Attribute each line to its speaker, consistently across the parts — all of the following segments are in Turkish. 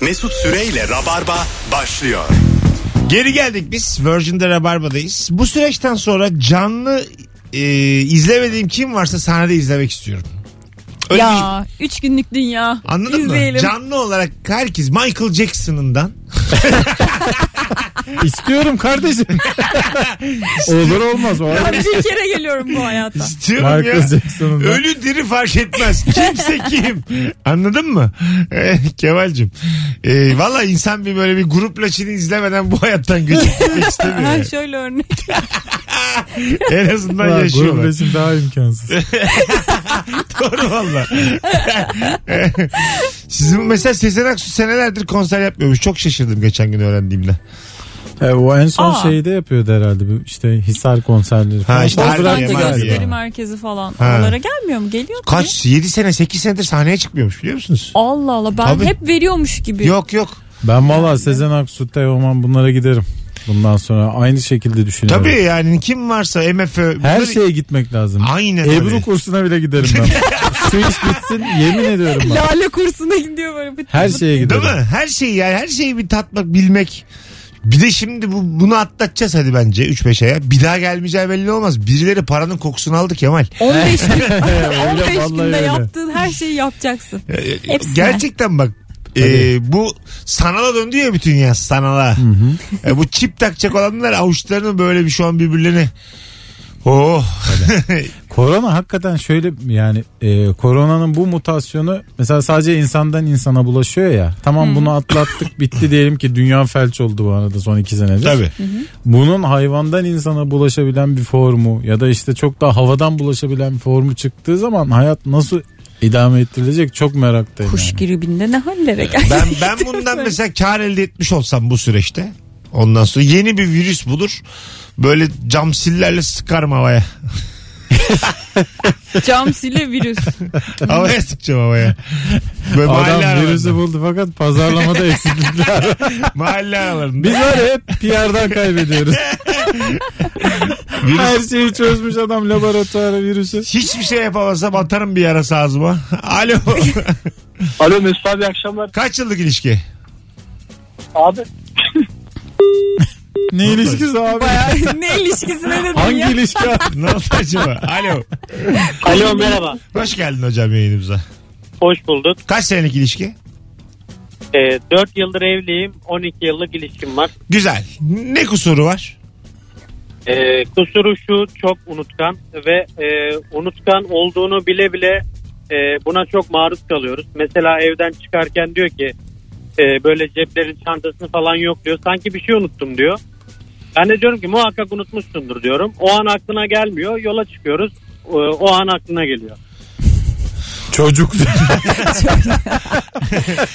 Speaker 1: Mesut Süreyle Rabarba başlıyor.
Speaker 2: Geri geldik biz Virgin'de Rabarba'dayız. Bu süreçten sonra canlı e, izlemediğim kim varsa sahnede izlemek istiyorum. Öyle değil.
Speaker 3: Ya 3 günlük dünya.
Speaker 2: Anladın
Speaker 3: İzleyelim.
Speaker 2: mı? Canlı olarak herkes Michael Jackson'ından
Speaker 4: İstiyorum kardeşim. Olur olmaz o.
Speaker 3: Ben bir kere geliyorum bu hayata.
Speaker 2: istiyorum
Speaker 4: Michael
Speaker 2: ya.
Speaker 4: Jackson'ın da.
Speaker 2: Ölü diri fark etmez. Kimse kim. Anladın mı? Eh, Kemal'cim. E, Valla insan bir böyle bir grup laçını izlemeden bu hayattan göçüp gitmek istemiyor.
Speaker 3: Ha,
Speaker 2: yani.
Speaker 3: şöyle örnek.
Speaker 2: en azından
Speaker 4: Ulan Grup
Speaker 2: yaşıyorlar.
Speaker 4: resim daha imkansız.
Speaker 2: Doğru valla. Sizin mesela Sezen Aksu senelerdir konser yapmıyormuş. Çok şaşırdım geçen gün öğrendiğimde.
Speaker 4: E, o en son
Speaker 3: Aa.
Speaker 4: şeyde yapıyordu herhalde. Bu işte Hisar konserleri falan.
Speaker 2: Ha, işte
Speaker 4: O
Speaker 2: Harbiye
Speaker 3: Bostancı
Speaker 4: bıraktı
Speaker 2: Maviye.
Speaker 3: Gösteri
Speaker 4: galiba.
Speaker 3: Merkezi falan.
Speaker 2: Ha.
Speaker 3: Oralara gelmiyor mu? Geliyor mu?
Speaker 2: Kaç 7 sene 8 senedir sahneye çıkmıyormuş biliyor musunuz?
Speaker 3: Allah Allah ben
Speaker 2: Tabii.
Speaker 3: hep veriyormuş gibi.
Speaker 2: Yok yok.
Speaker 4: Ben valla Sezen Aksu, Teoman bunlara giderim. Bundan sonra aynı şekilde düşünüyorum.
Speaker 2: Tabii yani kim varsa MFÖ.
Speaker 4: Her
Speaker 2: bunları-
Speaker 4: şeye gitmek lazım.
Speaker 2: Aynen öyle.
Speaker 4: Ebru kursuna bile giderim ben. Şu iş bitsin yemin ediyorum ben.
Speaker 3: Lale kursuna gidiyor böyle. Bıt
Speaker 4: Her
Speaker 3: bıt.
Speaker 4: şeye giderim.
Speaker 2: Değil mi? Her şeyi yani her şeyi bir tatmak bilmek. Bir de şimdi bu, bunu atlatacağız hadi bence 3-5 aya. Bir daha gelmeyeceği belli olmaz. Birileri paranın kokusunu aldı Kemal.
Speaker 3: 15 gün,
Speaker 4: Öyle,
Speaker 3: 15
Speaker 4: vallahi
Speaker 3: günde
Speaker 4: öyle.
Speaker 3: yaptığın her şeyi yapacaksın.
Speaker 2: Ee, e,
Speaker 3: Hepsine.
Speaker 2: Gerçekten bak.
Speaker 4: Tabii.
Speaker 2: e, bu sanala döndü ya bütün ya sanala. E, bu çip takacak olanlar avuçlarını böyle bir şu an birbirlerine. Oh.
Speaker 4: Korona hakikaten şöyle yani e, koronanın bu mutasyonu mesela sadece insandan insana bulaşıyor ya. Tamam bunu atlattık bitti diyelim ki dünya felç oldu bu arada son iki senedir.
Speaker 2: Tabii.
Speaker 4: Bunun hayvandan insana bulaşabilen bir formu ya da işte çok daha havadan bulaşabilen bir formu çıktığı zaman hayat nasıl idame ettirilecek çok meraktayım.
Speaker 3: Kuş
Speaker 4: yani.
Speaker 3: gribinde ne hallere geldi.
Speaker 2: Ben ben bundan mesela kar elde etmiş olsam bu süreçte. Ondan sonra yeni bir virüs bulur. Böyle cam sillerle sıkarım havaya.
Speaker 3: Cam sile virüs.
Speaker 2: Havaya sıkacağım havaya. Böyle mahalle
Speaker 4: Adam
Speaker 2: aralarında.
Speaker 4: virüsü buldu fakat pazarlamada eksiklikler. var.
Speaker 2: Mahalle aralarında.
Speaker 4: Biz var ya hep PR'dan kaybediyoruz. Her
Speaker 2: Virüs-
Speaker 4: şeyi çözmüş adam laboratuvara virüsü.
Speaker 2: Hiçbir şey yapamazsam atarım bir yarası ağzıma. Alo.
Speaker 5: Alo Mesut abi iyi akşamlar.
Speaker 2: Kaç yıllık ilişki?
Speaker 5: Abi
Speaker 4: Ne ilişkisi abi?
Speaker 3: Bayağı ne ilişkisine dedin
Speaker 4: Hangi
Speaker 3: ya?
Speaker 4: ilişki abi?
Speaker 2: Ne oldu acaba? Alo.
Speaker 5: Alo merhaba.
Speaker 2: Hoş geldin hocam yayınımıza.
Speaker 5: Hoş bulduk.
Speaker 2: Kaç senelik ilişki?
Speaker 5: Ee, 4 yıldır evliyim. 12 yıllık ilişkim var.
Speaker 2: Güzel. Ne kusuru var?
Speaker 5: Ee, kusuru şu çok unutkan ve e, unutkan olduğunu bile bile e, buna çok maruz kalıyoruz. Mesela evden çıkarken diyor ki e, böyle ceplerin çantasını falan yok diyor. Sanki bir şey unuttum diyor. Ben de diyorum ki muhakkak unutmuşsundur diyorum. O an aklına gelmiyor. Yola çıkıyoruz. Ee, O an aklına geliyor.
Speaker 4: Çocuk.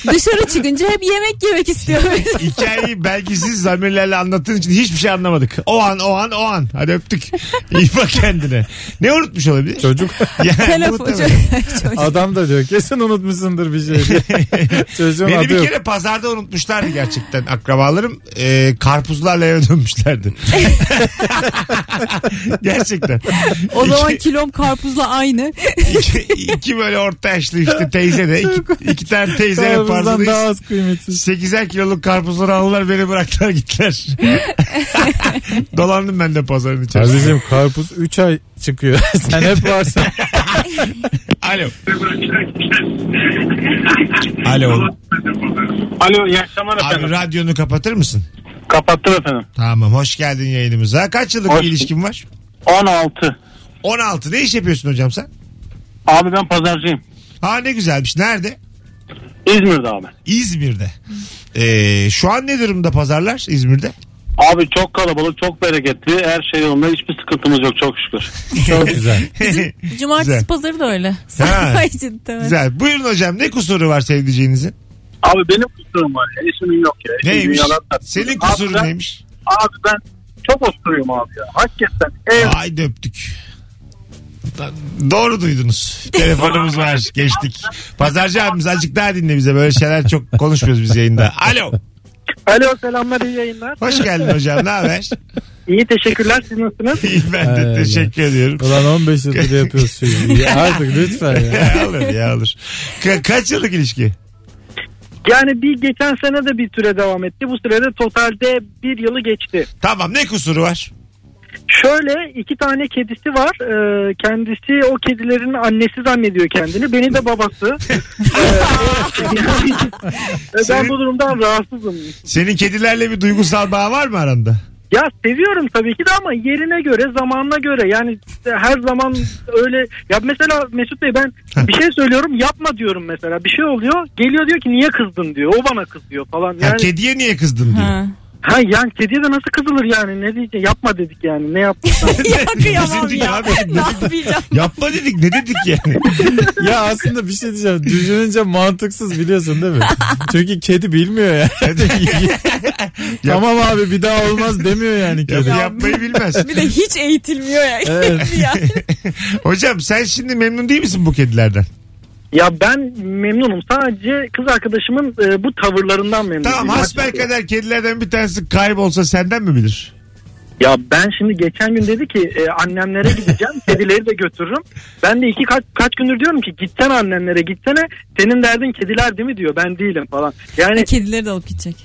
Speaker 3: Dışarı çıkınca hep yemek yemek istiyor.
Speaker 2: Hikayeyi belgisiz zamirlerle anlattığın için hiçbir şey anlamadık. O an o an o an. Hadi öptük. İyi bak kendine. Ne unutmuş olabilir?
Speaker 4: Çocuk.
Speaker 2: Yani
Speaker 3: Telefon.
Speaker 2: unutamıyorum.
Speaker 4: Adam da diyor kesin unutmuşsundur bir şey diye. Çocuğun
Speaker 2: Beni
Speaker 4: adı
Speaker 2: bir
Speaker 4: yok.
Speaker 2: kere pazarda unutmuşlardı gerçekten akrabalarım. Ee, karpuzlarla eve dönmüşlerdi. gerçekten.
Speaker 3: o zaman
Speaker 2: İki-
Speaker 3: kilom karpuzla aynı.
Speaker 2: iki, iki böyle orta yaşlı işte teyze de. İki, iki tane teyze
Speaker 4: Karpuzdan daha
Speaker 2: yaparsınız.
Speaker 4: az kıymetsiz.
Speaker 2: 8'er kiloluk karpuzları aldılar beni bıraktılar gittiler. Dolandım ben de pazarın içerisinde.
Speaker 4: Kardeşim karpuz 3 ay çıkıyor. Sen hep varsın.
Speaker 2: Alo. Alo.
Speaker 5: Alo iyi akşamlar
Speaker 2: Abi radyonu kapatır mısın?
Speaker 5: Kapattım efendim.
Speaker 2: Tamam hoş geldin yayınımıza. Kaç yıllık
Speaker 5: Hoş
Speaker 2: bir ilişkin var?
Speaker 5: 16.
Speaker 2: 16. Ne iş yapıyorsun hocam sen?
Speaker 5: Abi ben pazarcıyım.
Speaker 2: Ha ne güzelmiş. Nerede?
Speaker 5: İzmir'de abi.
Speaker 2: İzmir'de. Ee, şu an ne durumda pazarlar İzmir'de?
Speaker 5: Abi çok kalabalık, çok bereketli. Her şey yolunda. Hiçbir sıkıntımız yok çok şükür.
Speaker 4: Çok güzel.
Speaker 3: Bizim cumartesi
Speaker 2: Güzel.
Speaker 3: pazarı da öyle.
Speaker 2: Ha.
Speaker 3: Cidden.
Speaker 2: Güzel. Buyurun hocam ne kusuru var sevdiceğinizin?
Speaker 5: Abi benim kusurum var ya. Eşimin yok ya. Eşim
Speaker 2: Neymiş?
Speaker 5: dünyalar tatlısı.
Speaker 2: Senin
Speaker 5: abi
Speaker 2: kusurun
Speaker 5: ben,
Speaker 2: neymiş?
Speaker 5: Abi ben çok osuruyum abi ya. Hakikaten Ee, ev
Speaker 2: Ay döptük. Doğru duydunuz. Telefonumuz var. Geçtik. Pazarcı abimiz azıcık daha dinle bize. Böyle şeyler çok konuşmuyoruz biz yayında. Alo.
Speaker 5: Alo selamlar iyi yayınlar.
Speaker 2: Hoş geldin hocam. Ne haber?
Speaker 5: İyi teşekkürler siz nasılsınız?
Speaker 2: İyi, ben de
Speaker 4: Ay,
Speaker 2: teşekkür ediyorum.
Speaker 4: Ulan 15 yıldır yapıyorsun. Ya Artık lütfen ya.
Speaker 2: olur ya olur. Ka- kaç yıllık ilişki?
Speaker 5: Yani bir geçen sene de bir süre devam etti. Bu sürede totalde bir yılı geçti.
Speaker 2: Tamam ne kusuru var?
Speaker 5: Şöyle iki tane kedisi var. Ee, kendisi o kedilerin annesi zannediyor kendini. Beni de babası. Ee, ben bu durumdan rahatsızım.
Speaker 2: Senin kedilerle bir duygusal bağ var mı aranda?
Speaker 5: Ya seviyorum tabii ki de ama yerine göre, zamanına göre. Yani her zaman öyle. Ya mesela Mesut Bey ben bir şey söylüyorum yapma diyorum mesela. Bir şey oluyor. Geliyor diyor ki niye kızdın diyor. O bana kızıyor falan.
Speaker 2: Ha,
Speaker 5: Yani
Speaker 2: kediye niye kızdın diyor.
Speaker 3: Ha.
Speaker 5: ha yani kediye de nasıl kızılır yani? Ne diyecek? Yapma dedik yani. Ne yaptık?
Speaker 3: ya kıyamam
Speaker 2: Üzüldük
Speaker 3: ya.
Speaker 2: abi.
Speaker 3: ne yapacağım?
Speaker 2: Yapma dedik ne dedik yani.
Speaker 4: ya aslında bir şey diyeceğim. Düşününce mantıksız biliyorsun değil mi? Çünkü kedi bilmiyor ya. tamam abi bir daha olmaz demiyor yani
Speaker 2: Ya bu
Speaker 4: kedi.
Speaker 2: yapmayı bilmez.
Speaker 3: Bir de hiç eğitilmiyor ya. ya.
Speaker 2: Hocam sen şimdi memnun değil misin bu kedilerden?
Speaker 5: Ya ben memnunum. Sadece kız arkadaşımın e, bu tavırlarından memnunum.
Speaker 2: Tamam hasbelkader kedilerden bir tanesi kaybolsa senden mi bilir?
Speaker 5: Ya ben şimdi geçen gün dedi ki e, annemlere gideceğim. kedileri de götürürüm. Ben de iki kaç, kaç gündür diyorum ki gitsen annenlere gitsene. Senin derdin kediler değil mi diyor. Ben değilim falan. Yani
Speaker 3: Kedileri de alıp gidecek.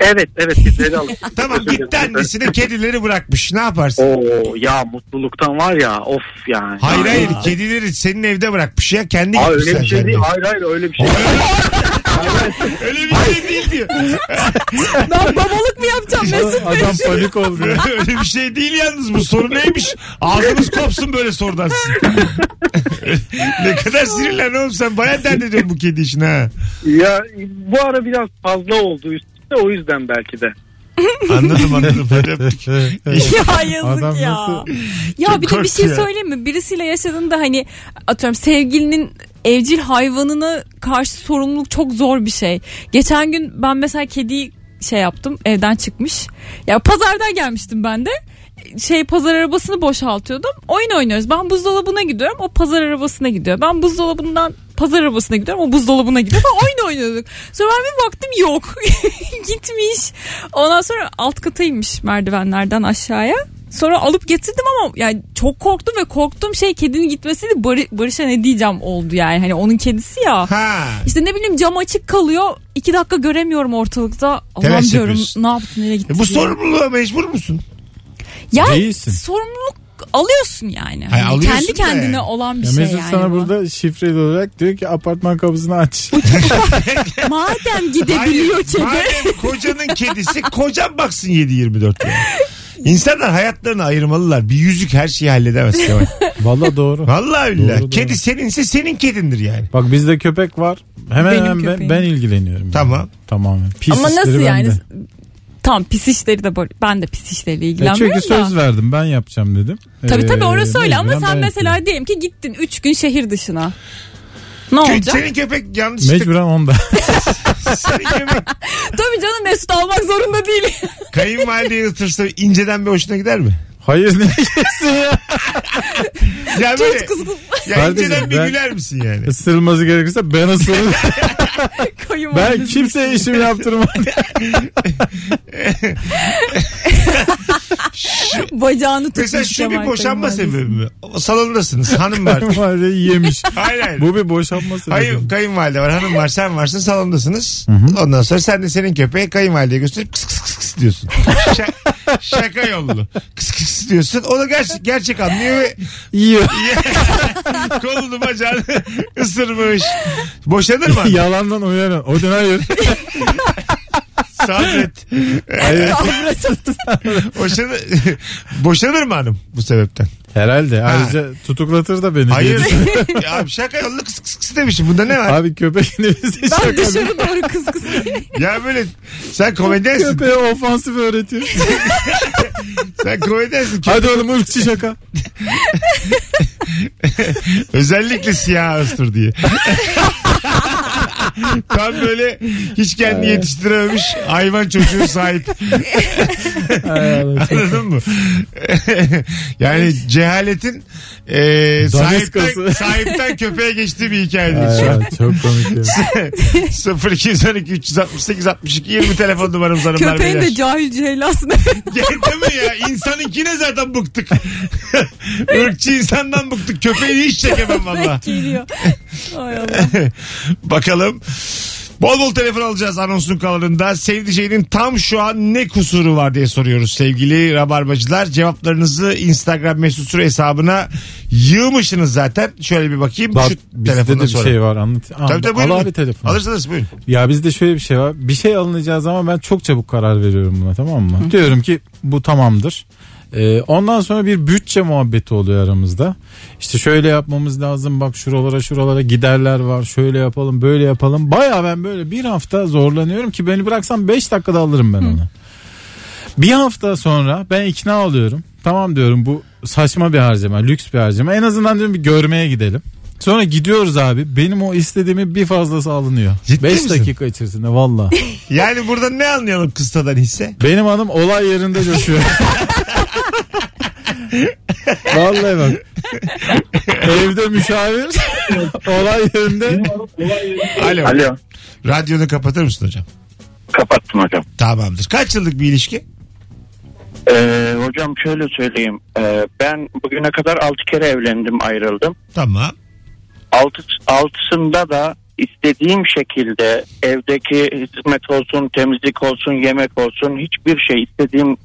Speaker 5: evet evet kedileri alıp.
Speaker 2: Tamam gitti annesine kedileri bırakmış ne yaparsın?
Speaker 5: Oo ya mutluluktan var ya of yani.
Speaker 2: Hayır hayır
Speaker 5: Ya.
Speaker 2: kedileri senin evde bırakmış ya kendi
Speaker 5: Aa,
Speaker 2: gitmiş
Speaker 5: öyle bir şey
Speaker 2: senden
Speaker 5: değil.
Speaker 2: de.
Speaker 5: Hayır hayır öyle bir şey.
Speaker 2: Öyle bir şey değil diyor.
Speaker 3: Ben babalık mı yapacağım Mesut Bey?
Speaker 4: Adam panik oldu. ya.
Speaker 2: Öyle bir şey değil yalnız bu soru neymiş? Ağzınız kopsun böyle sorudan sizin. ne kadar sinirlen oğlum sen baya dert ediyorsun bu kedi işine ha.
Speaker 5: ya bu ara biraz fazla oldu üstüne o yüzden belki de.
Speaker 2: Anladım anladım. Hadi öptük.
Speaker 3: Ya yazık
Speaker 4: Adam
Speaker 3: ya.
Speaker 4: nasıl-
Speaker 2: Çok
Speaker 3: Ya bir de bir
Speaker 2: korktu
Speaker 3: şey
Speaker 2: ya.
Speaker 3: söyleyeyim mi? Birisiyle yaşadığında hani atıyorum sevgilinin evcil hayvanına karşı sorumluluk çok zor bir şey. Geçen gün ben mesela kediyi şey yaptım evden çıkmış. Ya pazardan gelmiştim ben de şey pazar arabasını boşaltıyordum. Oyun oynuyoruz. Ben buzdolabına gidiyorum. O pazar arabasına gidiyor. Ben buzdolabından pazar arabasına gidiyorum. O buzdolabına gidiyor. Falan oyun oynuyorduk. Sonra ben bir baktım yok. Gitmiş. Ondan sonra alt kata inmiş merdivenlerden aşağıya. Sonra alıp getirdim ama yani çok korktum ve korktuğum şey kedinin gitmesiydi. Barı- Barış'a ne diyeceğim oldu yani. Hani onun kedisi ya.
Speaker 2: Ha.
Speaker 3: İşte ne bileyim cam açık kalıyor. iki dakika göremiyorum ortalıkta. Allah'ım
Speaker 2: Telaş
Speaker 3: diyorum
Speaker 2: yapıyorsun.
Speaker 3: ne yaptı nereye gitti
Speaker 2: E bu
Speaker 3: diye.
Speaker 2: sorumluluğa mecbur musun?
Speaker 3: Ya
Speaker 4: Değilsin.
Speaker 3: sorumluluk alıyorsun yani.
Speaker 2: Hayır,
Speaker 3: Hani
Speaker 2: alıyorsun
Speaker 3: kendi
Speaker 2: da
Speaker 3: kendine
Speaker 2: yani.
Speaker 3: olan bir
Speaker 4: Ya
Speaker 3: şey
Speaker 4: Mesut
Speaker 3: yani.
Speaker 4: sana
Speaker 3: bu.
Speaker 4: burada şifreli olarak diyor ki apartman kapısını aç.
Speaker 3: Madem
Speaker 2: Hayır,
Speaker 3: gidebiliyor kedi.
Speaker 2: Madem kocanın kedisi kocan baksın 7-24 yani. İnsanlar hayatlarını ayırmalılar. Bir yüzük her şeyi halledemez Kemal.
Speaker 4: Valla doğru.
Speaker 2: Vallahi billahi.
Speaker 4: Doğru, doğru.
Speaker 2: Kedi seninse senin kedindir yani.
Speaker 4: Bak bizde köpek var. Hemen
Speaker 3: Benim
Speaker 4: hemen ben,
Speaker 3: köpeğim.
Speaker 4: ben ilgileniyorum.
Speaker 2: Tamam.
Speaker 4: Tamamen. Pis
Speaker 3: Ama
Speaker 4: işleri
Speaker 3: nasıl yani?
Speaker 4: bende.
Speaker 3: Tam pis işleri de böyle. Ben de pis işleriyle
Speaker 4: E
Speaker 3: ilgilenmiyorum
Speaker 4: çünkü
Speaker 3: da.
Speaker 4: söz verdim ben yapacağım dedim.
Speaker 3: Tabii
Speaker 4: Ee,
Speaker 3: tabii orası öyle ama
Speaker 4: mecburen
Speaker 3: sen
Speaker 4: ben
Speaker 3: mesela
Speaker 4: yapıyorum.
Speaker 3: diyelim ki gittin 3 gün şehir dışına. Ne
Speaker 2: Kö-
Speaker 3: olacak?
Speaker 2: Senin köpek yanlışlıkla
Speaker 4: Mecburen onda.
Speaker 2: senin köpek
Speaker 3: Tabii canım Mesut almak zorunda değil.
Speaker 2: kayınvalideyi ısırsa inceden bir hoşuna gider mi?
Speaker 4: Hayır ne kesin ya?
Speaker 2: Ya böyle
Speaker 3: Tut kız kız
Speaker 2: ya
Speaker 4: Kardeşim,
Speaker 2: inceden bir
Speaker 4: ben-
Speaker 2: güler misin yani?
Speaker 4: Isırılması gerekirse ben ısırırım.
Speaker 3: koyun
Speaker 4: ben
Speaker 3: vardı.
Speaker 4: kimseye işimi yaptırmam.
Speaker 3: Bacağını tutmuş.
Speaker 2: Mesela şu bir
Speaker 3: Kemal
Speaker 2: boşanma
Speaker 3: Kayınvalidesi.
Speaker 2: sebebi mi? Salondasınız hanım var.
Speaker 4: Var ya, yemiş.
Speaker 2: hayır hayır.
Speaker 4: Bu bir boşanma sebebi.
Speaker 2: Hayır kayınvalide var hanım var sen varsın salondasınız. Ondan sonra sen de senin köpeği kayınvalideye gösterip kıs kıs kıs kıs diyorsun. Şa- şaka yollu. Kıs kıs kıs diyorsun. O da ger- gerçek anlıyor ve
Speaker 4: Yiyor.
Speaker 2: kolunu bacağını ısırmış. Boşanır mı? Ya.
Speaker 4: Yalandan uyarın. O gün hayır.
Speaker 2: Sabret. Boşanır, boşanır mı hanım bu sebepten?
Speaker 4: Herhalde. Ayrıca tutuklatır da beni.
Speaker 2: Hayır.
Speaker 4: Diye düşünüyorum.
Speaker 2: Ya Abi şaka yollu kıs kıs kıs demişim. Bunda ne var?
Speaker 4: Abi köpek ne bize
Speaker 3: Ben
Speaker 4: şaka.
Speaker 3: dışarı doğru kız kız.
Speaker 2: Ya böyle sen komedyensin.
Speaker 4: Köpeğe ofansif öğretiyor.
Speaker 2: sen komedyensin.
Speaker 4: Hadi oğlum ırkçı şaka.
Speaker 2: Özellikle siyah ısır diye. Tam böyle hiç kendini yetiştirememiş hayvan çocuğu sahip. Anladın mı? yani cehaletin e, sahipten,
Speaker 4: Daniskası.
Speaker 2: sahipten köpeğe geçtiği bir hikayedir şu an.
Speaker 4: Aa, çok komik ya.
Speaker 2: 0212 368 62 20 telefon numaramız hanımlar
Speaker 3: Köpeğin
Speaker 2: beyler.
Speaker 3: de cahil cehlasına.
Speaker 2: Gel deme ya insanınkine zaten bıktık. Irkçı insandan bıktık. Köpeğini hiç çekemem valla.
Speaker 3: Geliyor. Ay Allah.
Speaker 2: Bakalım Bol bol telefon alacağız anonsun kalanında. Sevdiceğinin tam şu an ne kusuru var diye soruyoruz sevgili rabarbacılar. Cevaplarınızı Instagram mesut süre hesabına yığmışsınız zaten. Şöyle bir bakayım.
Speaker 4: Bak
Speaker 2: şu
Speaker 4: bizde de
Speaker 2: telefonda
Speaker 4: bir
Speaker 2: sonra.
Speaker 4: şey var anlat.
Speaker 2: Tabii tabii buyurun.
Speaker 4: Al abi telefonu.
Speaker 2: Alırsınız buyurun.
Speaker 4: Ya bizde şöyle bir şey var. Bir şey alınacağı zaman ben çok çabuk karar veriyorum buna tamam mı? Diyorum ki bu tamamdır. Ee, ondan sonra bir bütçe muhabbeti oluyor aramızda. İşte şöyle yapmamız lazım bak şuralara şuralara giderler var şöyle yapalım böyle yapalım. Baya ben böyle bir hafta zorlanıyorum ki beni bıraksam 5 dakikada alırım ben onu. Bir hafta sonra ben ikna oluyorum. Tamam diyorum bu saçma bir harcama, lüks bir harcama. En azından diyorum bir görmeye gidelim. Sonra gidiyoruz abi. Benim o istediğimi bir fazlası alınıyor.
Speaker 2: Ciddi
Speaker 4: 5
Speaker 2: misin?
Speaker 4: dakika içerisinde valla.
Speaker 2: Yani burada ne anlayalım kıstadan hisse?
Speaker 4: Benim hanım olay yerinde coşuyor. Vallahi bak. Evde müşavir olay yerinde.
Speaker 2: Alo.
Speaker 6: Alo.
Speaker 2: Radyonu kapatır mısın hocam?
Speaker 6: Kapattım hocam.
Speaker 2: Tamamdır. Kaç yıllık bir ilişki?
Speaker 6: Ee, hocam şöyle söyleyeyim. Ee, ben bugüne kadar 6 kere evlendim ayrıldım.
Speaker 2: Tamam.
Speaker 6: Altı, altısında da istediğim şekilde evdeki hizmet olsun, temizlik olsun, yemek olsun hiçbir şey istediğim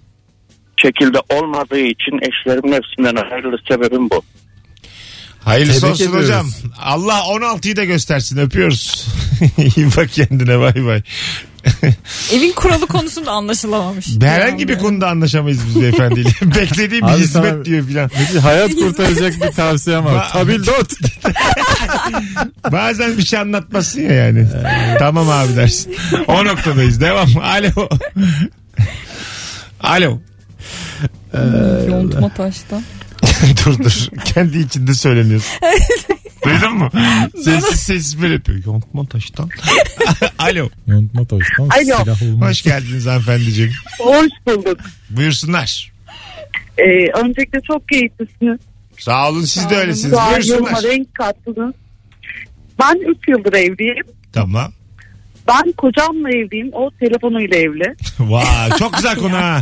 Speaker 6: şekilde olmadığı için eşlerimin hepsinden ayrılı sebebim bu.
Speaker 2: Hayırlısı
Speaker 4: Tebrik
Speaker 2: olsun
Speaker 4: ediyoruz.
Speaker 2: hocam. Allah 16'yı da göstersin. Öpüyoruz. İyi bak kendine bay bay.
Speaker 3: Evin kuralı konusunda anlaşılamamış.
Speaker 2: Herhangi bir konuda anlaşamayız biz beyefendiyle. Beklediğim bir
Speaker 4: Abi
Speaker 2: hizmet
Speaker 4: sana-
Speaker 2: diyor filan.
Speaker 4: Hayat kurtaracak bir tavsiyem var. Tabildot.
Speaker 2: Bazen bir şey anlatmasın ya yani. tamam abi dersin. O noktadayız. Devam. Alo. Alo.
Speaker 3: e, Yontma taştan.
Speaker 2: dur dur. Kendi içinde söyleniyorsun. Duydun mu? Sessiz sessiz böyle yapıyor. Yontma taştan. Alo.
Speaker 4: Yontma taştan silah olmaz.
Speaker 2: Hoş geldiniz hanımefendiciğim.
Speaker 7: Hoş bulduk.
Speaker 2: Buyursunlar.
Speaker 7: Ee, öncelikle çok keyiflisiniz.
Speaker 2: Sağ olun siz de öylesiniz.
Speaker 7: Doğaryuma
Speaker 2: Buyursunlar.
Speaker 7: renk kattınız. Ben 3 yıldır evliyim.
Speaker 2: Tamam.
Speaker 7: Ben kocamla evliyim. O telefonuyla evli.
Speaker 2: Vay çok güzel konu ha.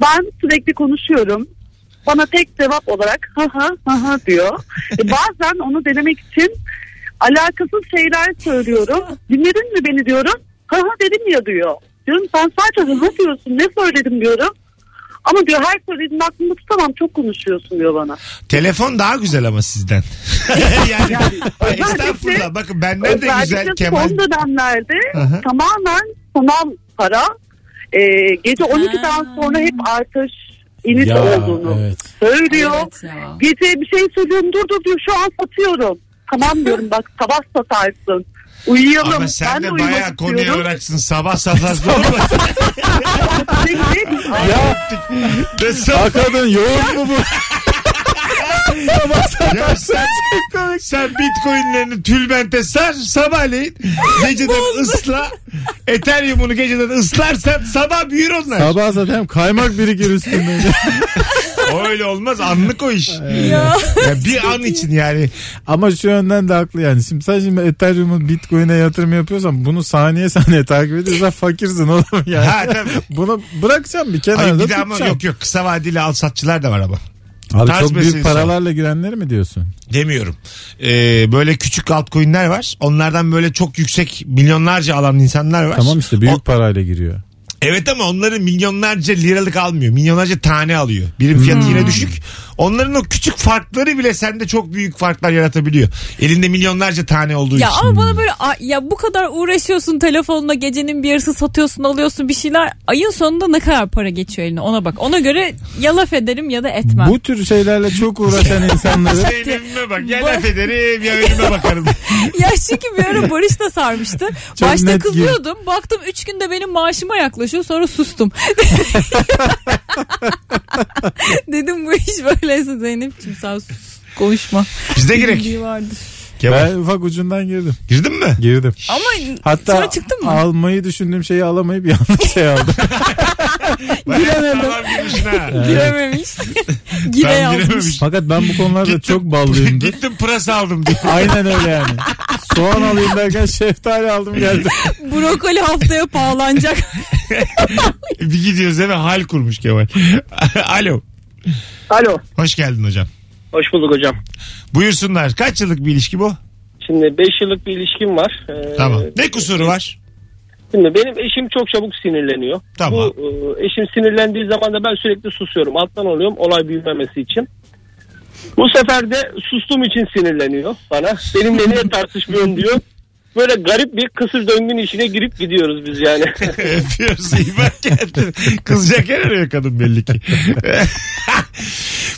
Speaker 7: Ben sürekli konuşuyorum. Bana tek cevap olarak ha ha ha ha diyor. E, bazen onu denemek için alakasız şeyler söylüyorum. Dinledin mi beni diyorum. Ha ha dedim ya diyor. Diyorum sen sadece hı hı diyorsun ne söyledim diyorum. Ama diyor her söylediğini aklımda tutamam çok konuşuyorsun diyor bana.
Speaker 2: Telefon daha güzel ama sizden. yani estağfurullah. Bakın benden de güzel
Speaker 7: Özellikle
Speaker 2: Kemal.
Speaker 7: son dönemlerde
Speaker 2: Aha.
Speaker 7: tamamen sanal para e, gece 12'den sonra hep artış iniş
Speaker 4: Ya,
Speaker 7: olduğunu
Speaker 4: evet.
Speaker 7: söylüyor.
Speaker 3: Evet ya.
Speaker 7: Gece bir şey söylüyorum dur dur diyor şu an satıyorum. Tamam diyorum bak sabah satarsın. Uyuyalım.
Speaker 2: Ama sen
Speaker 7: ben
Speaker 2: de
Speaker 7: uyumak
Speaker 2: bayağı konuya
Speaker 7: istiyorum.
Speaker 2: bıraksın. Sabah safhası olmaz.
Speaker 7: Sürekli-
Speaker 4: Ya
Speaker 2: De sabah-
Speaker 4: hakikaten yoğurt mu bu?
Speaker 2: ya sen, sen bitcoinlerini tülbente sar. Sabahleyin geceden ısla. Ethereum'unu geceden ıslarsan sabah büyür onlar.
Speaker 4: Sabah zaten kaymak birikir üstünde.
Speaker 2: Öyle olmaz. Anlık o iş.
Speaker 3: Ya.
Speaker 2: Ya bir an için yani.
Speaker 4: Ama şu yönden de haklı yani. Şimdi sen şimdi Ethereum'un Bitcoin'e yatırım yapıyorsan bunu saniye saniye takip ediyorsan fakirsin oğlum yani.
Speaker 2: Ha, tabii.
Speaker 4: Bunu bırakacağım bir kenarda
Speaker 2: Ay bir de
Speaker 4: tutacağım.
Speaker 2: ama yok yok kısa vadeli al satçılar da var ama.
Speaker 4: Abi
Speaker 2: Tarz
Speaker 4: çok
Speaker 2: meselesi
Speaker 4: büyük paralarla girenleri mi diyorsun?
Speaker 2: Demiyorum. Ee, böyle küçük altcoin'ler var. Onlardan böyle çok yüksek milyonlarca alan insanlar var.
Speaker 4: Tamam işte
Speaker 2: O-
Speaker 4: büyük parayla giriyor.
Speaker 2: evet ama onların milyonlarca liralık almıyor. Milyonlarca tane alıyor. Birim fiyatı
Speaker 4: Hmm.
Speaker 2: yine düşük. Onların o küçük farkları bile sende çok büyük farklar yaratabiliyor. Elinde milyonlarca tane olduğu
Speaker 3: Ya
Speaker 2: için.
Speaker 3: ama bana böyle "Ay, ya bu kadar uğraşıyorsun telefonla gecenin bir yarısı satıyorsun alıyorsun bir şeyler. Ayın sonunda ne kadar para geçiyor eline ona bak. Ona göre ya laf ederim ya da etmem.
Speaker 4: Bu tür şeylerle çok uğraşan insanları
Speaker 2: Şey- Elime bak. Ya laf ederim ya önüme bakarım.
Speaker 3: Ya çünkü bir ara Barış da sarmıştı.
Speaker 4: Çok
Speaker 3: Başta
Speaker 4: net
Speaker 3: kızıyordum. Baktım 3 günde benim maaşıma yaklaşıyor. Sonra sustum. Dedim bu iş böyleyse Zeynep'ciğim sen sus. Konuşma.
Speaker 2: Bizde girek.
Speaker 3: Bildiği vardır.
Speaker 2: Kemal.
Speaker 4: ben ufak ucundan girdim.
Speaker 2: Girdin mi?
Speaker 4: Girdim.
Speaker 3: Ama
Speaker 4: Hatta
Speaker 3: sonra çıktın mı?
Speaker 4: almayı düşündüğüm şeyi alamayıp yanlış şey aldım.
Speaker 2: Giremedim. Tamam girmişsin ha.
Speaker 3: Girememiş. Gire
Speaker 2: Tam
Speaker 3: yazmış.
Speaker 2: girememiş.
Speaker 4: Fakat ben bu konularda çok ballıyımdır.
Speaker 2: Gittim pırasa aldım diye.
Speaker 4: Aynen öyle yani. Soğan alayım derken şeftali aldım geldi.
Speaker 3: Brokoli haftaya pahalanacak.
Speaker 2: Bir gidiyoruz eve hal kurmuş Kemal. Alo.
Speaker 7: Alo.
Speaker 2: Hoş geldin hocam.
Speaker 5: Hoş bulduk hocam.
Speaker 2: Buyursunlar. Kaç yıllık bir ilişki bu?
Speaker 8: Şimdi 5 yıllık bir ilişkim var. Ee,
Speaker 2: Tamam. Ne kusuru var?
Speaker 8: Şimdi benim eşim çok çabuk sinirleniyor.
Speaker 2: Tamam.
Speaker 8: Bu e, eşim sinirlendiği zaman da ben sürekli susuyorum. Alttan oluyorum olay büyümemesi için. Bu sefer de sustuğum için sinirleniyor bana. Benimle niye tartışmıyorsun diyor. Böyle garip bir kısır döngün işine girip gidiyoruz biz yani.
Speaker 2: Öpüyoruz iyi bak kendine. Kızacak yer arıyor kadın belli ki.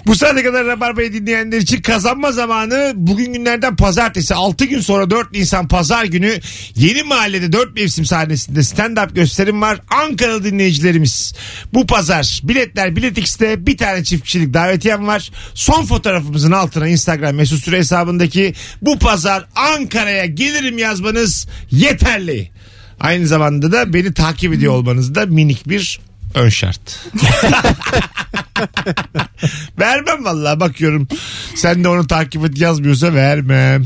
Speaker 2: Bu saate kadar Rabarba'yı dinleyenler için kazanma zamanı bugün günlerden pazartesi 6 gün sonra 4 Nisan pazar günü Yeni Mahallede 4 mevsim sahnesinde stand-up gösterim var. Ankaralı dinleyicilerimiz bu pazar biletler Bilet X'te bir tane çift kişilik davetiyem var. Son fotoğrafımızın altına Instagram mesut süre hesabındaki bu pazar Ankara'ya gelirim yazmanız yeterli. Aynı zamanda da beni takip ediyor olmanız da minik bir ön şart. vermem vallahi bakıyorum. Sen de onu takip et yazmıyorsa vermem.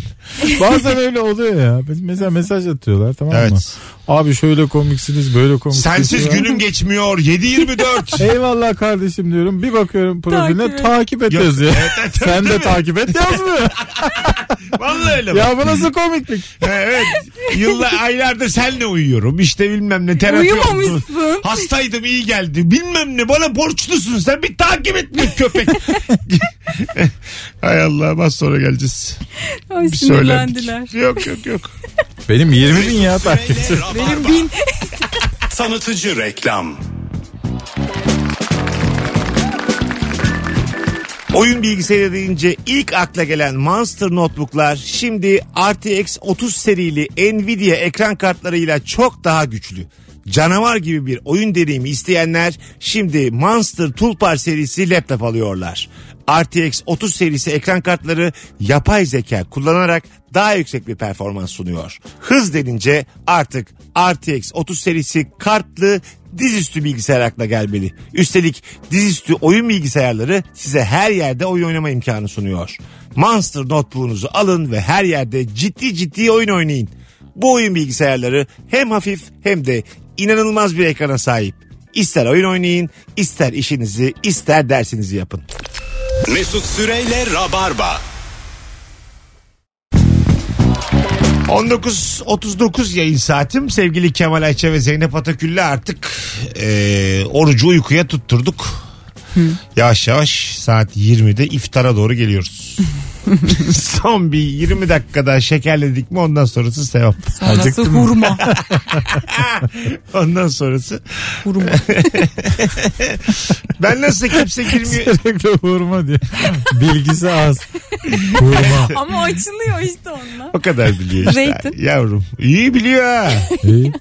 Speaker 4: Bazen öyle oluyor ya. Mesela mesaj atıyorlar tamam mı?
Speaker 2: Evet.
Speaker 4: Abi şöyle komiksiniz böyle komiksiniz.
Speaker 2: Sensiz
Speaker 4: falan.
Speaker 2: günüm geçmiyor. 7-24.
Speaker 4: Eyvallah kardeşim diyorum. Bir bakıyorum profiline
Speaker 3: Takip et.
Speaker 4: takip et
Speaker 2: Yok,
Speaker 4: yazıyor.
Speaker 2: evet, evet,
Speaker 4: Sen
Speaker 2: değil
Speaker 4: de
Speaker 2: mi?
Speaker 4: takip et yazmıyor.
Speaker 2: Vallahi öyle. bak.
Speaker 4: ya bu nasıl komiklik?
Speaker 2: Ha, evet. Yıllar aylardır senle uyuyorum. İşte bilmem ne terapi oldu.
Speaker 3: Uyumamışsın.
Speaker 2: Hastaydım iyi geldi. Bilmem ne bana borçlusun sen bir takip etme köpek. Hay Allah az sonra geleceğiz.
Speaker 3: Ay
Speaker 2: Bir
Speaker 3: sinirlendiler.
Speaker 2: söylendik. Yok yok yok.
Speaker 4: Benim 20 bin ya takipçi.
Speaker 1: Benim bin. Tanıtıcı reklam.
Speaker 2: Oyun bilgisayarı deyince ilk akla gelen Monster Notebook'lar şimdi RTX 30 serili Nvidia ekran kartlarıyla çok daha güçlü. Canavar gibi bir oyun deneyimi isteyenler şimdi Monster Toolbar serisi laptop alıyorlar. RTX 30 serisi ekran kartları yapay zeka kullanarak daha yüksek bir performans sunuyor. Hız denince artık RTX 30 serisi kartlı dizüstü bilgisayar aklına gelmeli. Üstelik dizüstü oyun bilgisayarları size her yerde oyun oynama imkanı sunuyor. Monster notebook'unuzu alın ve her yerde ciddi ciddi oyun oynayın. Bu oyun bilgisayarları hem hafif hem de inanılmaz bir ekrana sahip. İster oyun oynayın, ister işinizi, ister dersinizi yapın.
Speaker 1: Mesut Süreyle Rabarba.
Speaker 2: 19.39 yayın saatim. Sevgili Kemal Ayça ve Zeynep Atakül'le artık e, orucu uykuya tutturduk. Yavaş yavaş saat 20'de iftara doğru geliyoruz. Son bir 20 dakikada şekerledik mi ondan sonrası sevap.
Speaker 3: Sonrası
Speaker 4: Acıktım.
Speaker 3: hurma.
Speaker 2: Ondan sonrası.
Speaker 3: hurma.
Speaker 2: Ben nasıl kimse girmiyor.
Speaker 4: Sürekli hurma diyor. Bilgisi az. Hurma.
Speaker 3: Ama açılıyor işte onunla.
Speaker 2: O kadar biliyor işte.
Speaker 3: Zeytin.
Speaker 2: Yavrum. İyi biliyor ha.
Speaker 4: İyi.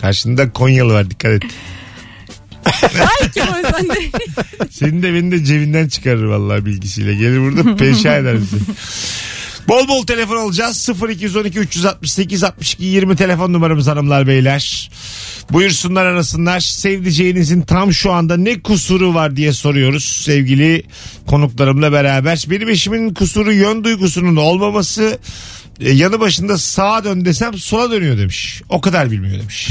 Speaker 2: Karşında Konyalı var dikkat et.
Speaker 3: Belki o yüzden de
Speaker 2: Senin de beni de cebinden çıkarır vallahi bilgisiyle. Gelir burada peşa eder bizi. Bol bol telefon alacağız. 0212 368 62 20 telefon numaramız hanımlar beyler. Buyursunlar arasınlar. Sevdiceğinizin tam şu anda ne kusuru var diye soruyoruz sevgili konuklarımla beraber. Benim eşimin kusuru yön duygusunun olmaması e, yanı başında sağa dön desem sola dönüyor demiş. O kadar bilmiyor demiş.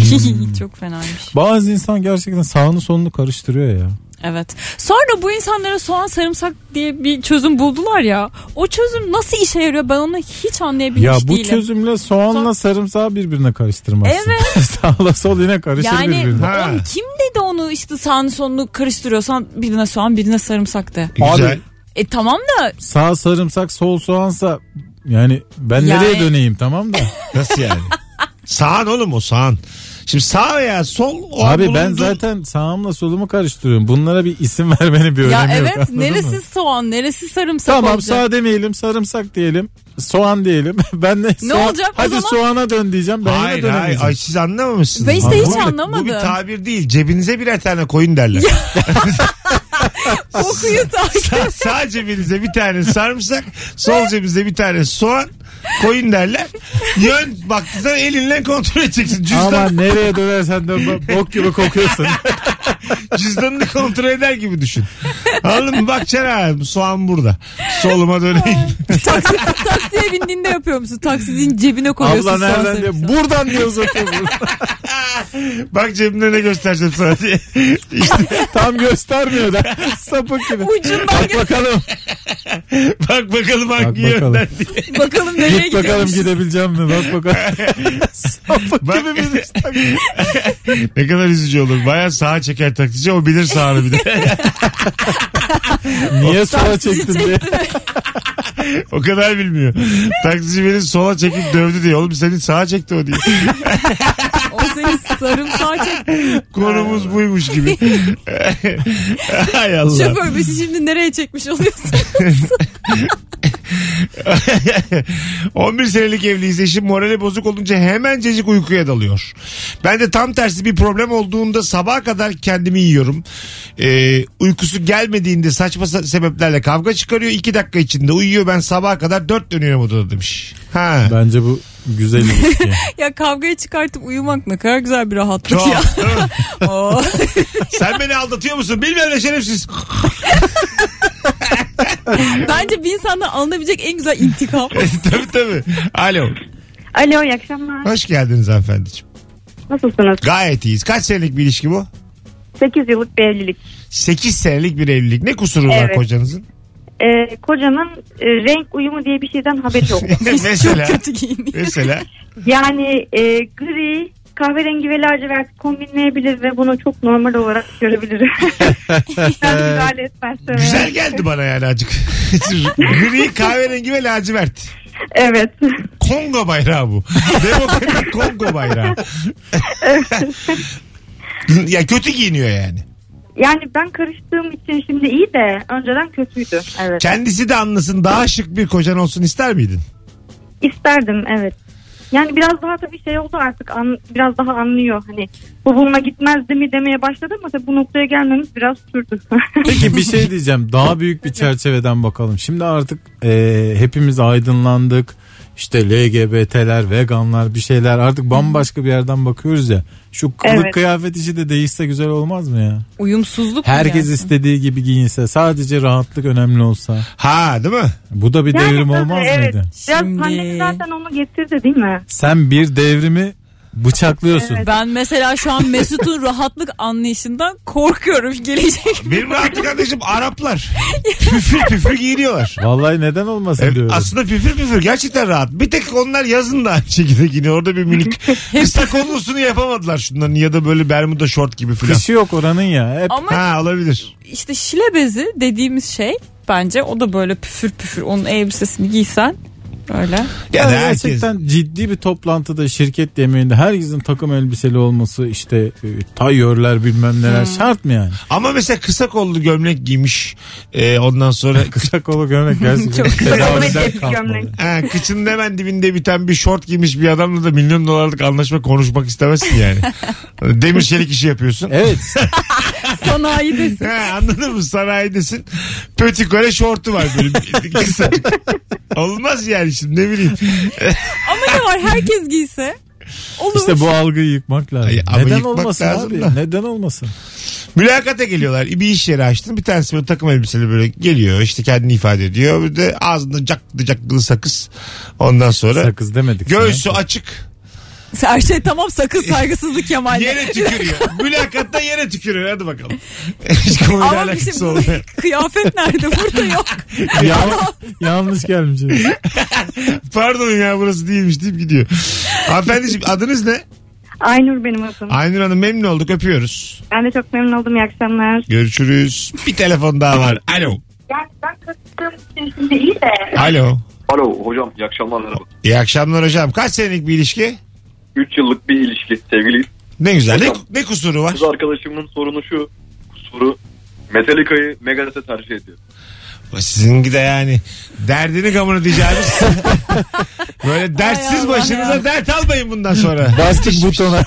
Speaker 3: çok fenaymış.
Speaker 4: Bazı insan gerçekten sağını solunu karıştırıyor ya.
Speaker 3: Evet. Sonra bu insanlara soğan sarımsak diye bir çözüm buldular ya. O çözüm nasıl işe yarıyor ben onu hiç anlayabilmiş
Speaker 4: ya bu
Speaker 3: değilim.
Speaker 4: çözümle soğanla sarımsağı birbirine karıştırmazsın. Evet. Sağla sol yine karışır
Speaker 3: Yani
Speaker 4: şey birbirine.
Speaker 2: Ha.
Speaker 3: oğlum kim dedi onu işte sağını sonunu karıştırıyorsan birine soğan birine sarımsak de.
Speaker 2: Güzel.
Speaker 4: Abi-
Speaker 3: E tamam da
Speaker 4: Sağ sarımsak sol soğansa yani ben
Speaker 3: Yani-
Speaker 4: nereye döneyim tamam da.
Speaker 2: Nasıl yani? sağan oğlum o sağan. Şimdi sağ veya sol o
Speaker 4: Abi
Speaker 2: an
Speaker 4: ben
Speaker 2: bulunduğu-
Speaker 4: zaten sağımla solumu karıştırıyorum. Bunlara bir isim vermenin bir önemi
Speaker 3: ya
Speaker 4: yok.
Speaker 3: evet
Speaker 4: anladın
Speaker 3: neresi
Speaker 4: mı?
Speaker 3: soğan neresi sarımsak
Speaker 4: Tamam
Speaker 3: olacak.
Speaker 4: sağ demeyelim sarımsak diyelim. Soğan diyelim. ben de
Speaker 3: Ne
Speaker 4: soğan-
Speaker 3: olacak o
Speaker 4: Hadi
Speaker 3: zaman?
Speaker 4: soğana dön diyeceğim. Ben
Speaker 2: Hayır
Speaker 4: yine
Speaker 2: hayır. Ay
Speaker 4: dönemeyeceğim.
Speaker 2: siz anlamamışsınız.
Speaker 3: Ben işte
Speaker 4: Abi,
Speaker 3: hiç
Speaker 4: bu- bu
Speaker 2: Bu bir
Speaker 3: anlamadım.
Speaker 2: tabir değil. Cebinize birer tane koyun derler.
Speaker 3: Okuyu takip.
Speaker 2: Sa- sağ cebinize bir tane sarımsak, sol cebinize bir tane soğan, koyun derler. Yön baktığında elinle kontrol edeceksin.
Speaker 4: Ama
Speaker 2: Cüzdan,
Speaker 4: nereye dönersen dön bo- bok gibi kokuyorsun.
Speaker 2: cüzdanını kontrol eder gibi düşün. Anladın mı? Bak Çerağım soğan burada. Soluma döneyim.
Speaker 3: Taksi, taksiye bindiğinde yapıyor musun? Taksinin cebine koyuyorsun
Speaker 4: Abla
Speaker 3: soğan
Speaker 4: nereden diyor.
Speaker 3: sarımsağı.
Speaker 4: Buradan diyor uzatıyor.
Speaker 2: Bak cebimde ne göstereceğim sana diye. İşte
Speaker 4: Tam göstermiyor da sapık gibi.
Speaker 3: Ucundan
Speaker 4: Bak bakalım.
Speaker 2: bak bakalım hangi
Speaker 4: Bak bakalım.
Speaker 2: yönden diye.
Speaker 3: bakalım nereye
Speaker 4: Git bakalım
Speaker 3: gidiyormuş.
Speaker 4: gidebileceğim mi? Bak bakalım. sapık
Speaker 2: Bak-
Speaker 4: gibi bir
Speaker 2: Ne kadar üzücü olur. Baya sağa çeker taksici o bilir sağını bir de.
Speaker 4: Niye sola çektin diye.
Speaker 2: O kadar bilmiyor. Taksici beni sola çekip dövdü diye. Oğlum seni sağa çekti o diye.
Speaker 3: O seni sarımsağa çekti.
Speaker 2: Konumuz buymuş gibi. Hay Allah.
Speaker 3: Şoför bizi şimdi nereye çekmiş oluyorsun?
Speaker 2: 11 senelik evliyiz eşim morali bozuk olunca hemencecik uykuya dalıyor. Ben de tam tersi bir problem olduğunda sabaha kadar kendimi yiyorum. Ee, uykusu gelmediğinde saçma sa- sebeplerle kavga çıkarıyor. 2 dakika içinde uyuyor ben sabaha kadar 4 dönüyorum odada demiş. Ha.
Speaker 4: Bence bu güzel ilişki.
Speaker 3: ya kavgaya çıkartıp uyumak ne kadar güzel bir rahatlık
Speaker 2: Çok.
Speaker 3: ya. Oo.
Speaker 2: Sen beni aldatıyor musun? Bilmem ne şerefsiz.
Speaker 3: Bence bir insandan alınabilecek en güzel intikam.
Speaker 2: tabii tabii. Alo.
Speaker 9: Alo iyi akşamlar.
Speaker 2: Hoş geldiniz hanımefendiciğim.
Speaker 9: Nasılsınız?
Speaker 2: Gayet iyiyiz. Kaç senelik bir ilişki bu?
Speaker 9: 8 yıllık bir evlilik.
Speaker 2: 8 senelik bir evlilik. Ne kusuru var
Speaker 9: Evet.
Speaker 2: kocanızın?
Speaker 9: Ee, kocanın e, renk uyumu diye bir şeyden haberi yok.
Speaker 2: mesela.
Speaker 3: Çok kötü giyiniyor.
Speaker 2: mesela.
Speaker 9: yani e, gri, kahverengi ve lacivert kombinleyebilir ve bunu çok normal olarak görebilirim. ben
Speaker 4: Ee,
Speaker 9: müdahale etmez tabii.
Speaker 2: Güzel geldi bana yani acık. Gri, kahverengi ve lacivert.
Speaker 9: Evet.
Speaker 2: Kongo bayrağı bu. Demokratik Kongo bayrağı. ya kötü giyiniyor yani.
Speaker 9: Yani ben karıştığım için şimdi iyi de önceden kötüydü. Evet.
Speaker 2: Kendisi de anlasın daha şık bir kocan olsun ister miydin?
Speaker 9: İsterdim evet. Yani biraz daha tabii şey oldu artık an- biraz daha anlıyor hani bu bununla gitmezdi mi demeye başladı ama tabii bu noktaya gelmemiz biraz sürdü.
Speaker 4: Peki bir şey diyeceğim. Daha büyük bir çerçeveden bakalım. Şimdi artık e, hepimiz aydınlandık. İşte LGBT'ler, veganlar bir şeyler artık bambaşka bir yerden bakıyoruz ya. Şu kılık
Speaker 9: Evet.
Speaker 4: kıyafet işi de değişse güzel olmaz mı ya?
Speaker 3: Uyumsuzluk mu
Speaker 4: Herkes
Speaker 3: yani?
Speaker 4: istediği gibi giyinse sadece rahatlık önemli olsa.
Speaker 2: Ha değil mi?
Speaker 4: Bu da bir
Speaker 9: Yani
Speaker 4: devrim
Speaker 9: tabii,
Speaker 4: olmaz
Speaker 9: evet.
Speaker 4: mıydı?
Speaker 9: Biraz
Speaker 3: Şimdi-
Speaker 9: pandemi zaten onu getirdi değil mi?
Speaker 4: Sen bir devrimi bıçaklıyorsun.
Speaker 3: Ben mesela şu an Mesut'un rahatlık anlayışından korkuyorum gelecek.
Speaker 2: Benim rahatlık kardeşim Araplar. Püfür püfür giyiniyorlar.
Speaker 4: Vallahi neden olmasın
Speaker 2: Evet,
Speaker 4: diyorum.
Speaker 2: aslında püfür püfür gerçekten rahat. Bir tek onlar yazın da aynı şekilde giyiniyor. Orada bir minik kısa kollusunu yapamadılar şunların ya da böyle bermuda şort gibi filan.
Speaker 4: Kışı yok oranın ya. Hep
Speaker 3: Ama
Speaker 2: Ha olabilir.
Speaker 3: işte şile bezi dediğimiz şey bence o da böyle püfür püfür onun elbisesini giysen öyle.
Speaker 2: Ya da
Speaker 4: Yani
Speaker 2: herkes-
Speaker 4: gerçekten ciddi bir toplantıda şirket yemeğinde herkesin takım elbiseli olması işte e, tayörler bilmem neler
Speaker 9: Hmm.
Speaker 4: şart mı yani?
Speaker 2: Ama mesela kısa kollu gömlek giymiş. Ee, ondan sonra
Speaker 4: Kısa kolu gömlek gerçekten tedaviden
Speaker 9: komik bir
Speaker 4: kalkmalı.
Speaker 9: gömlek.
Speaker 2: ha, kıçının hemen dibinde biten bir şort giymiş bir adamla da milyon dolarlık anlaşma konuşmak istemezsin yani. Demir çelik işi yapıyorsun.
Speaker 4: Evet
Speaker 3: Sanayi desin.
Speaker 2: Ha, anladın mı? Sanayidesin. Pötikore şortu var böyle. Kısacık. Olmaz yani şimdi ne bileyim.
Speaker 3: Ama ne var herkes giyse olur.
Speaker 4: işte bu algıyı yıkmak lazım.
Speaker 2: Ay, ama
Speaker 4: Neden
Speaker 2: yıkmak
Speaker 4: olmasın
Speaker 2: lazım
Speaker 4: abi?
Speaker 2: da.
Speaker 4: Neden olmasın?
Speaker 2: Mülakata geliyorlar. Bir iş yeri açtın. Bir tanesi böyle takım elbiseli böyle geliyor. İşte kendini ifade ediyor. Bir de ağzında caklı caklı sakız. Ondan sonra
Speaker 4: Sakız demedik.
Speaker 2: göğsü
Speaker 4: sana.
Speaker 2: açık.
Speaker 3: Her şey tamam sakın saygısızlık Kemal.
Speaker 2: Yere tükürüyor. Mülakatta yere tükürüyor. Hadi bakalım. Hiç konuyla
Speaker 3: Ama
Speaker 2: alakası
Speaker 3: bizim
Speaker 2: olmayan.
Speaker 3: kıyafet nerede? Burada yok.
Speaker 4: Ya- yanlış gelmiş.
Speaker 2: Pardon ya burası değilmiş deyip gidiyor. Hanımefendiciğim adınız ne?
Speaker 9: Aynur benim adım.
Speaker 2: Aynur Hanım memnun olduk öpüyoruz.
Speaker 9: Ben de çok memnun oldum iyi akşamlar.
Speaker 2: Görüşürüz. Bir telefon daha var. Alo.
Speaker 9: Yani ben karıştığım için şimdi iyi de
Speaker 2: Alo.
Speaker 10: Alo hocam iyi akşamlar. merhaba.
Speaker 2: İyi akşamlar hocam. Kaç senelik bir ilişki?
Speaker 10: 3 yıllık bir ilişki sevgili
Speaker 2: Ne güzel. Ne,
Speaker 10: Hocam.
Speaker 2: ne kusuru var?
Speaker 10: kız arkadaşımın sorunu şu. Kusuru Metallica'yı Megadeth'e tercih ediyor.
Speaker 2: Sizinki de yani derdini gamını diyeceğiniz. Böyle
Speaker 3: Ay
Speaker 2: dertsiz
Speaker 3: Allah
Speaker 2: başınıza
Speaker 3: ya.
Speaker 2: dert almayın bundan sonra.
Speaker 4: Bastık butona.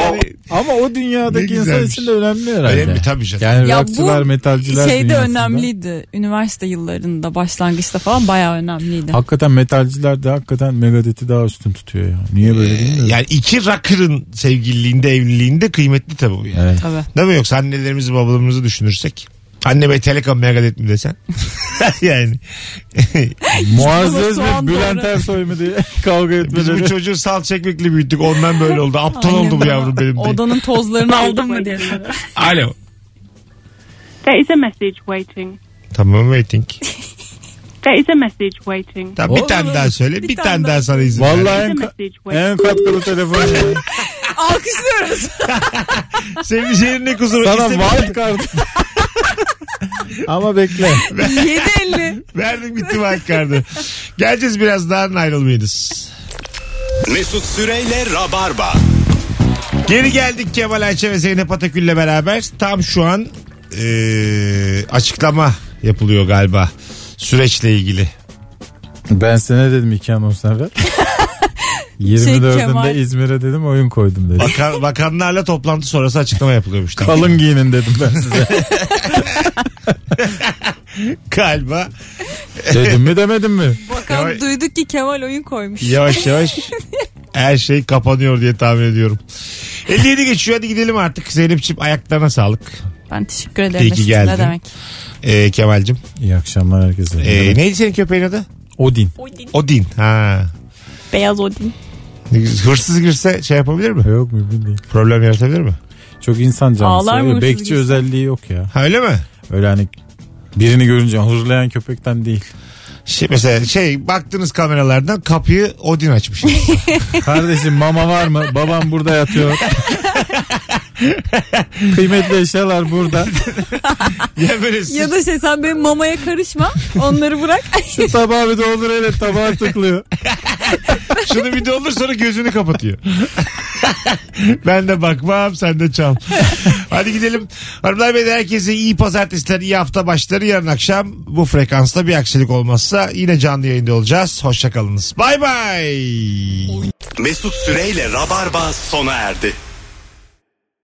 Speaker 2: Yani
Speaker 4: Ama o
Speaker 2: Ne
Speaker 4: dünyadaki insan
Speaker 2: güzelmiş.
Speaker 4: için de önemli herhalde.
Speaker 2: Önemli tabii canım.
Speaker 4: Yani
Speaker 3: Ya
Speaker 4: rockçılar,
Speaker 3: bu
Speaker 4: metalciler
Speaker 3: şey de
Speaker 4: dünyasında.
Speaker 3: önemliydi. Üniversite yıllarında başlangıçta falan bayağı önemliydi.
Speaker 4: Hakikaten metalciler de hakikaten Megadeth'i daha üstün tutuyor ya. Niye böyle bilmiyorum.
Speaker 2: Ee, yani iki rakırın sevgililiğinde evliliğinde kıymetli tabii bu yani.
Speaker 4: Evet.
Speaker 3: Tabii.
Speaker 2: Değil mi yoksa annelerimizi babalarımızı düşünürsek. Anneme Telekom Megadeth mi desen? yani.
Speaker 4: Muazzez
Speaker 3: soğan
Speaker 4: mi Bülent
Speaker 3: doğru.
Speaker 4: Ersoy mu diye kavga
Speaker 2: Biz bu
Speaker 4: etmeleri.
Speaker 2: çocuğu sal çekmekle büyüttük. Ondan böyle oldu. Aptal
Speaker 3: Aynen.
Speaker 2: oldu bu yavrum benim diye.
Speaker 3: Odanın tozlarını aldın mı diye soruyor.
Speaker 2: Alo.
Speaker 11: There is a message waiting.
Speaker 2: Tamam waiting.
Speaker 11: There is a message waiting.
Speaker 2: Tamam, bir
Speaker 4: Oğlum.
Speaker 2: tane daha söyle. Bir, tane daha sana izin ver.
Speaker 4: Vallahi
Speaker 11: There
Speaker 4: en,
Speaker 11: is a
Speaker 4: ka-
Speaker 11: message waiting.
Speaker 4: en katkılı telefon. ya.
Speaker 3: Alkışlıyoruz.
Speaker 2: Sevgili şehrin ne kusuru?
Speaker 4: Sana
Speaker 2: İstemi-
Speaker 4: wild card. Ama bekle.
Speaker 3: 7.50.
Speaker 2: Verdim gitti wild card'ı. Geleceğiz birazdan ayrılmayınız.
Speaker 1: Mesut Süreyle Rabarba.
Speaker 2: Geri geldik Kemal Ayça ve Zeynep Atakül'le beraber. Tam şu an eee, açıklama yapılıyor galiba süreçle ilgili.
Speaker 4: Ben sana ne dedim iki anons evvel? 24'ünde
Speaker 3: Kemal.
Speaker 4: İzmir'e dedim oyun koydum dedim.
Speaker 2: Bakan, bakanlarla toplantı sonrası açıklama yapılıyormuş. Tamam.
Speaker 4: Kalın giyinin dedim ben size.
Speaker 2: Galiba
Speaker 4: dedim mi demedim mi?
Speaker 2: Ya-
Speaker 3: Bakalım duyduk ki Kemal oyun koymuş.
Speaker 2: yavaş yavaş her şey kapanıyor diye tahmin ediyorum. 57 geçiyor hadi gidelim artık. Zeynep'ciğim ayaklarına sağlık.
Speaker 3: Ben teşekkür ederim.
Speaker 2: İyi ki
Speaker 3: Mesut.
Speaker 2: geldin.
Speaker 3: Ne demek?
Speaker 2: Ee, Kemal'cim.
Speaker 4: İyi akşamlar herkese.
Speaker 2: Ee, neydi senin köpeğin adı?
Speaker 4: Odin.
Speaker 3: Odin.
Speaker 2: Odin. Ha.
Speaker 3: Beyaz Odin.
Speaker 2: Hırsız girse şey yapabilir mi?
Speaker 4: Yok mümkün değil.
Speaker 2: Problem yaratabilir mi?
Speaker 4: Çok insan canlısı.
Speaker 3: Ağlar mı
Speaker 4: Öyle
Speaker 3: hırsız
Speaker 4: Bekçi
Speaker 3: gitse?
Speaker 4: özelliği yok ya.
Speaker 2: Ha öyle mi?
Speaker 4: Öyle hani birini görünce hırlayan köpekten değil.
Speaker 2: Şey, mesela şey baktınız kameralardan kapıyı Odin açmış.
Speaker 4: Kardeşim mama var mı? Babam burada yatıyor. Kıymetli eşyalar burada.
Speaker 2: ya böyle sıç-
Speaker 3: Ya da şey sen benim mamaya karışma. Onları bırak.
Speaker 4: Şu tabağı bir doldur hele tabağa tıklıyor.
Speaker 2: şunu bir doldur sonra gözünü kapatıyor. ben de bakmam sen de çal. Hadi gidelim. Hanımlar beyler herkese iyi pazartesiler, iyi hafta başları. Yarın akşam bu frekansta bir aksilik olmazsa yine canlı yayında olacağız. Hoşçakalınız. Bay bay.
Speaker 1: Mesut Süreyle Rabarba sona erdi.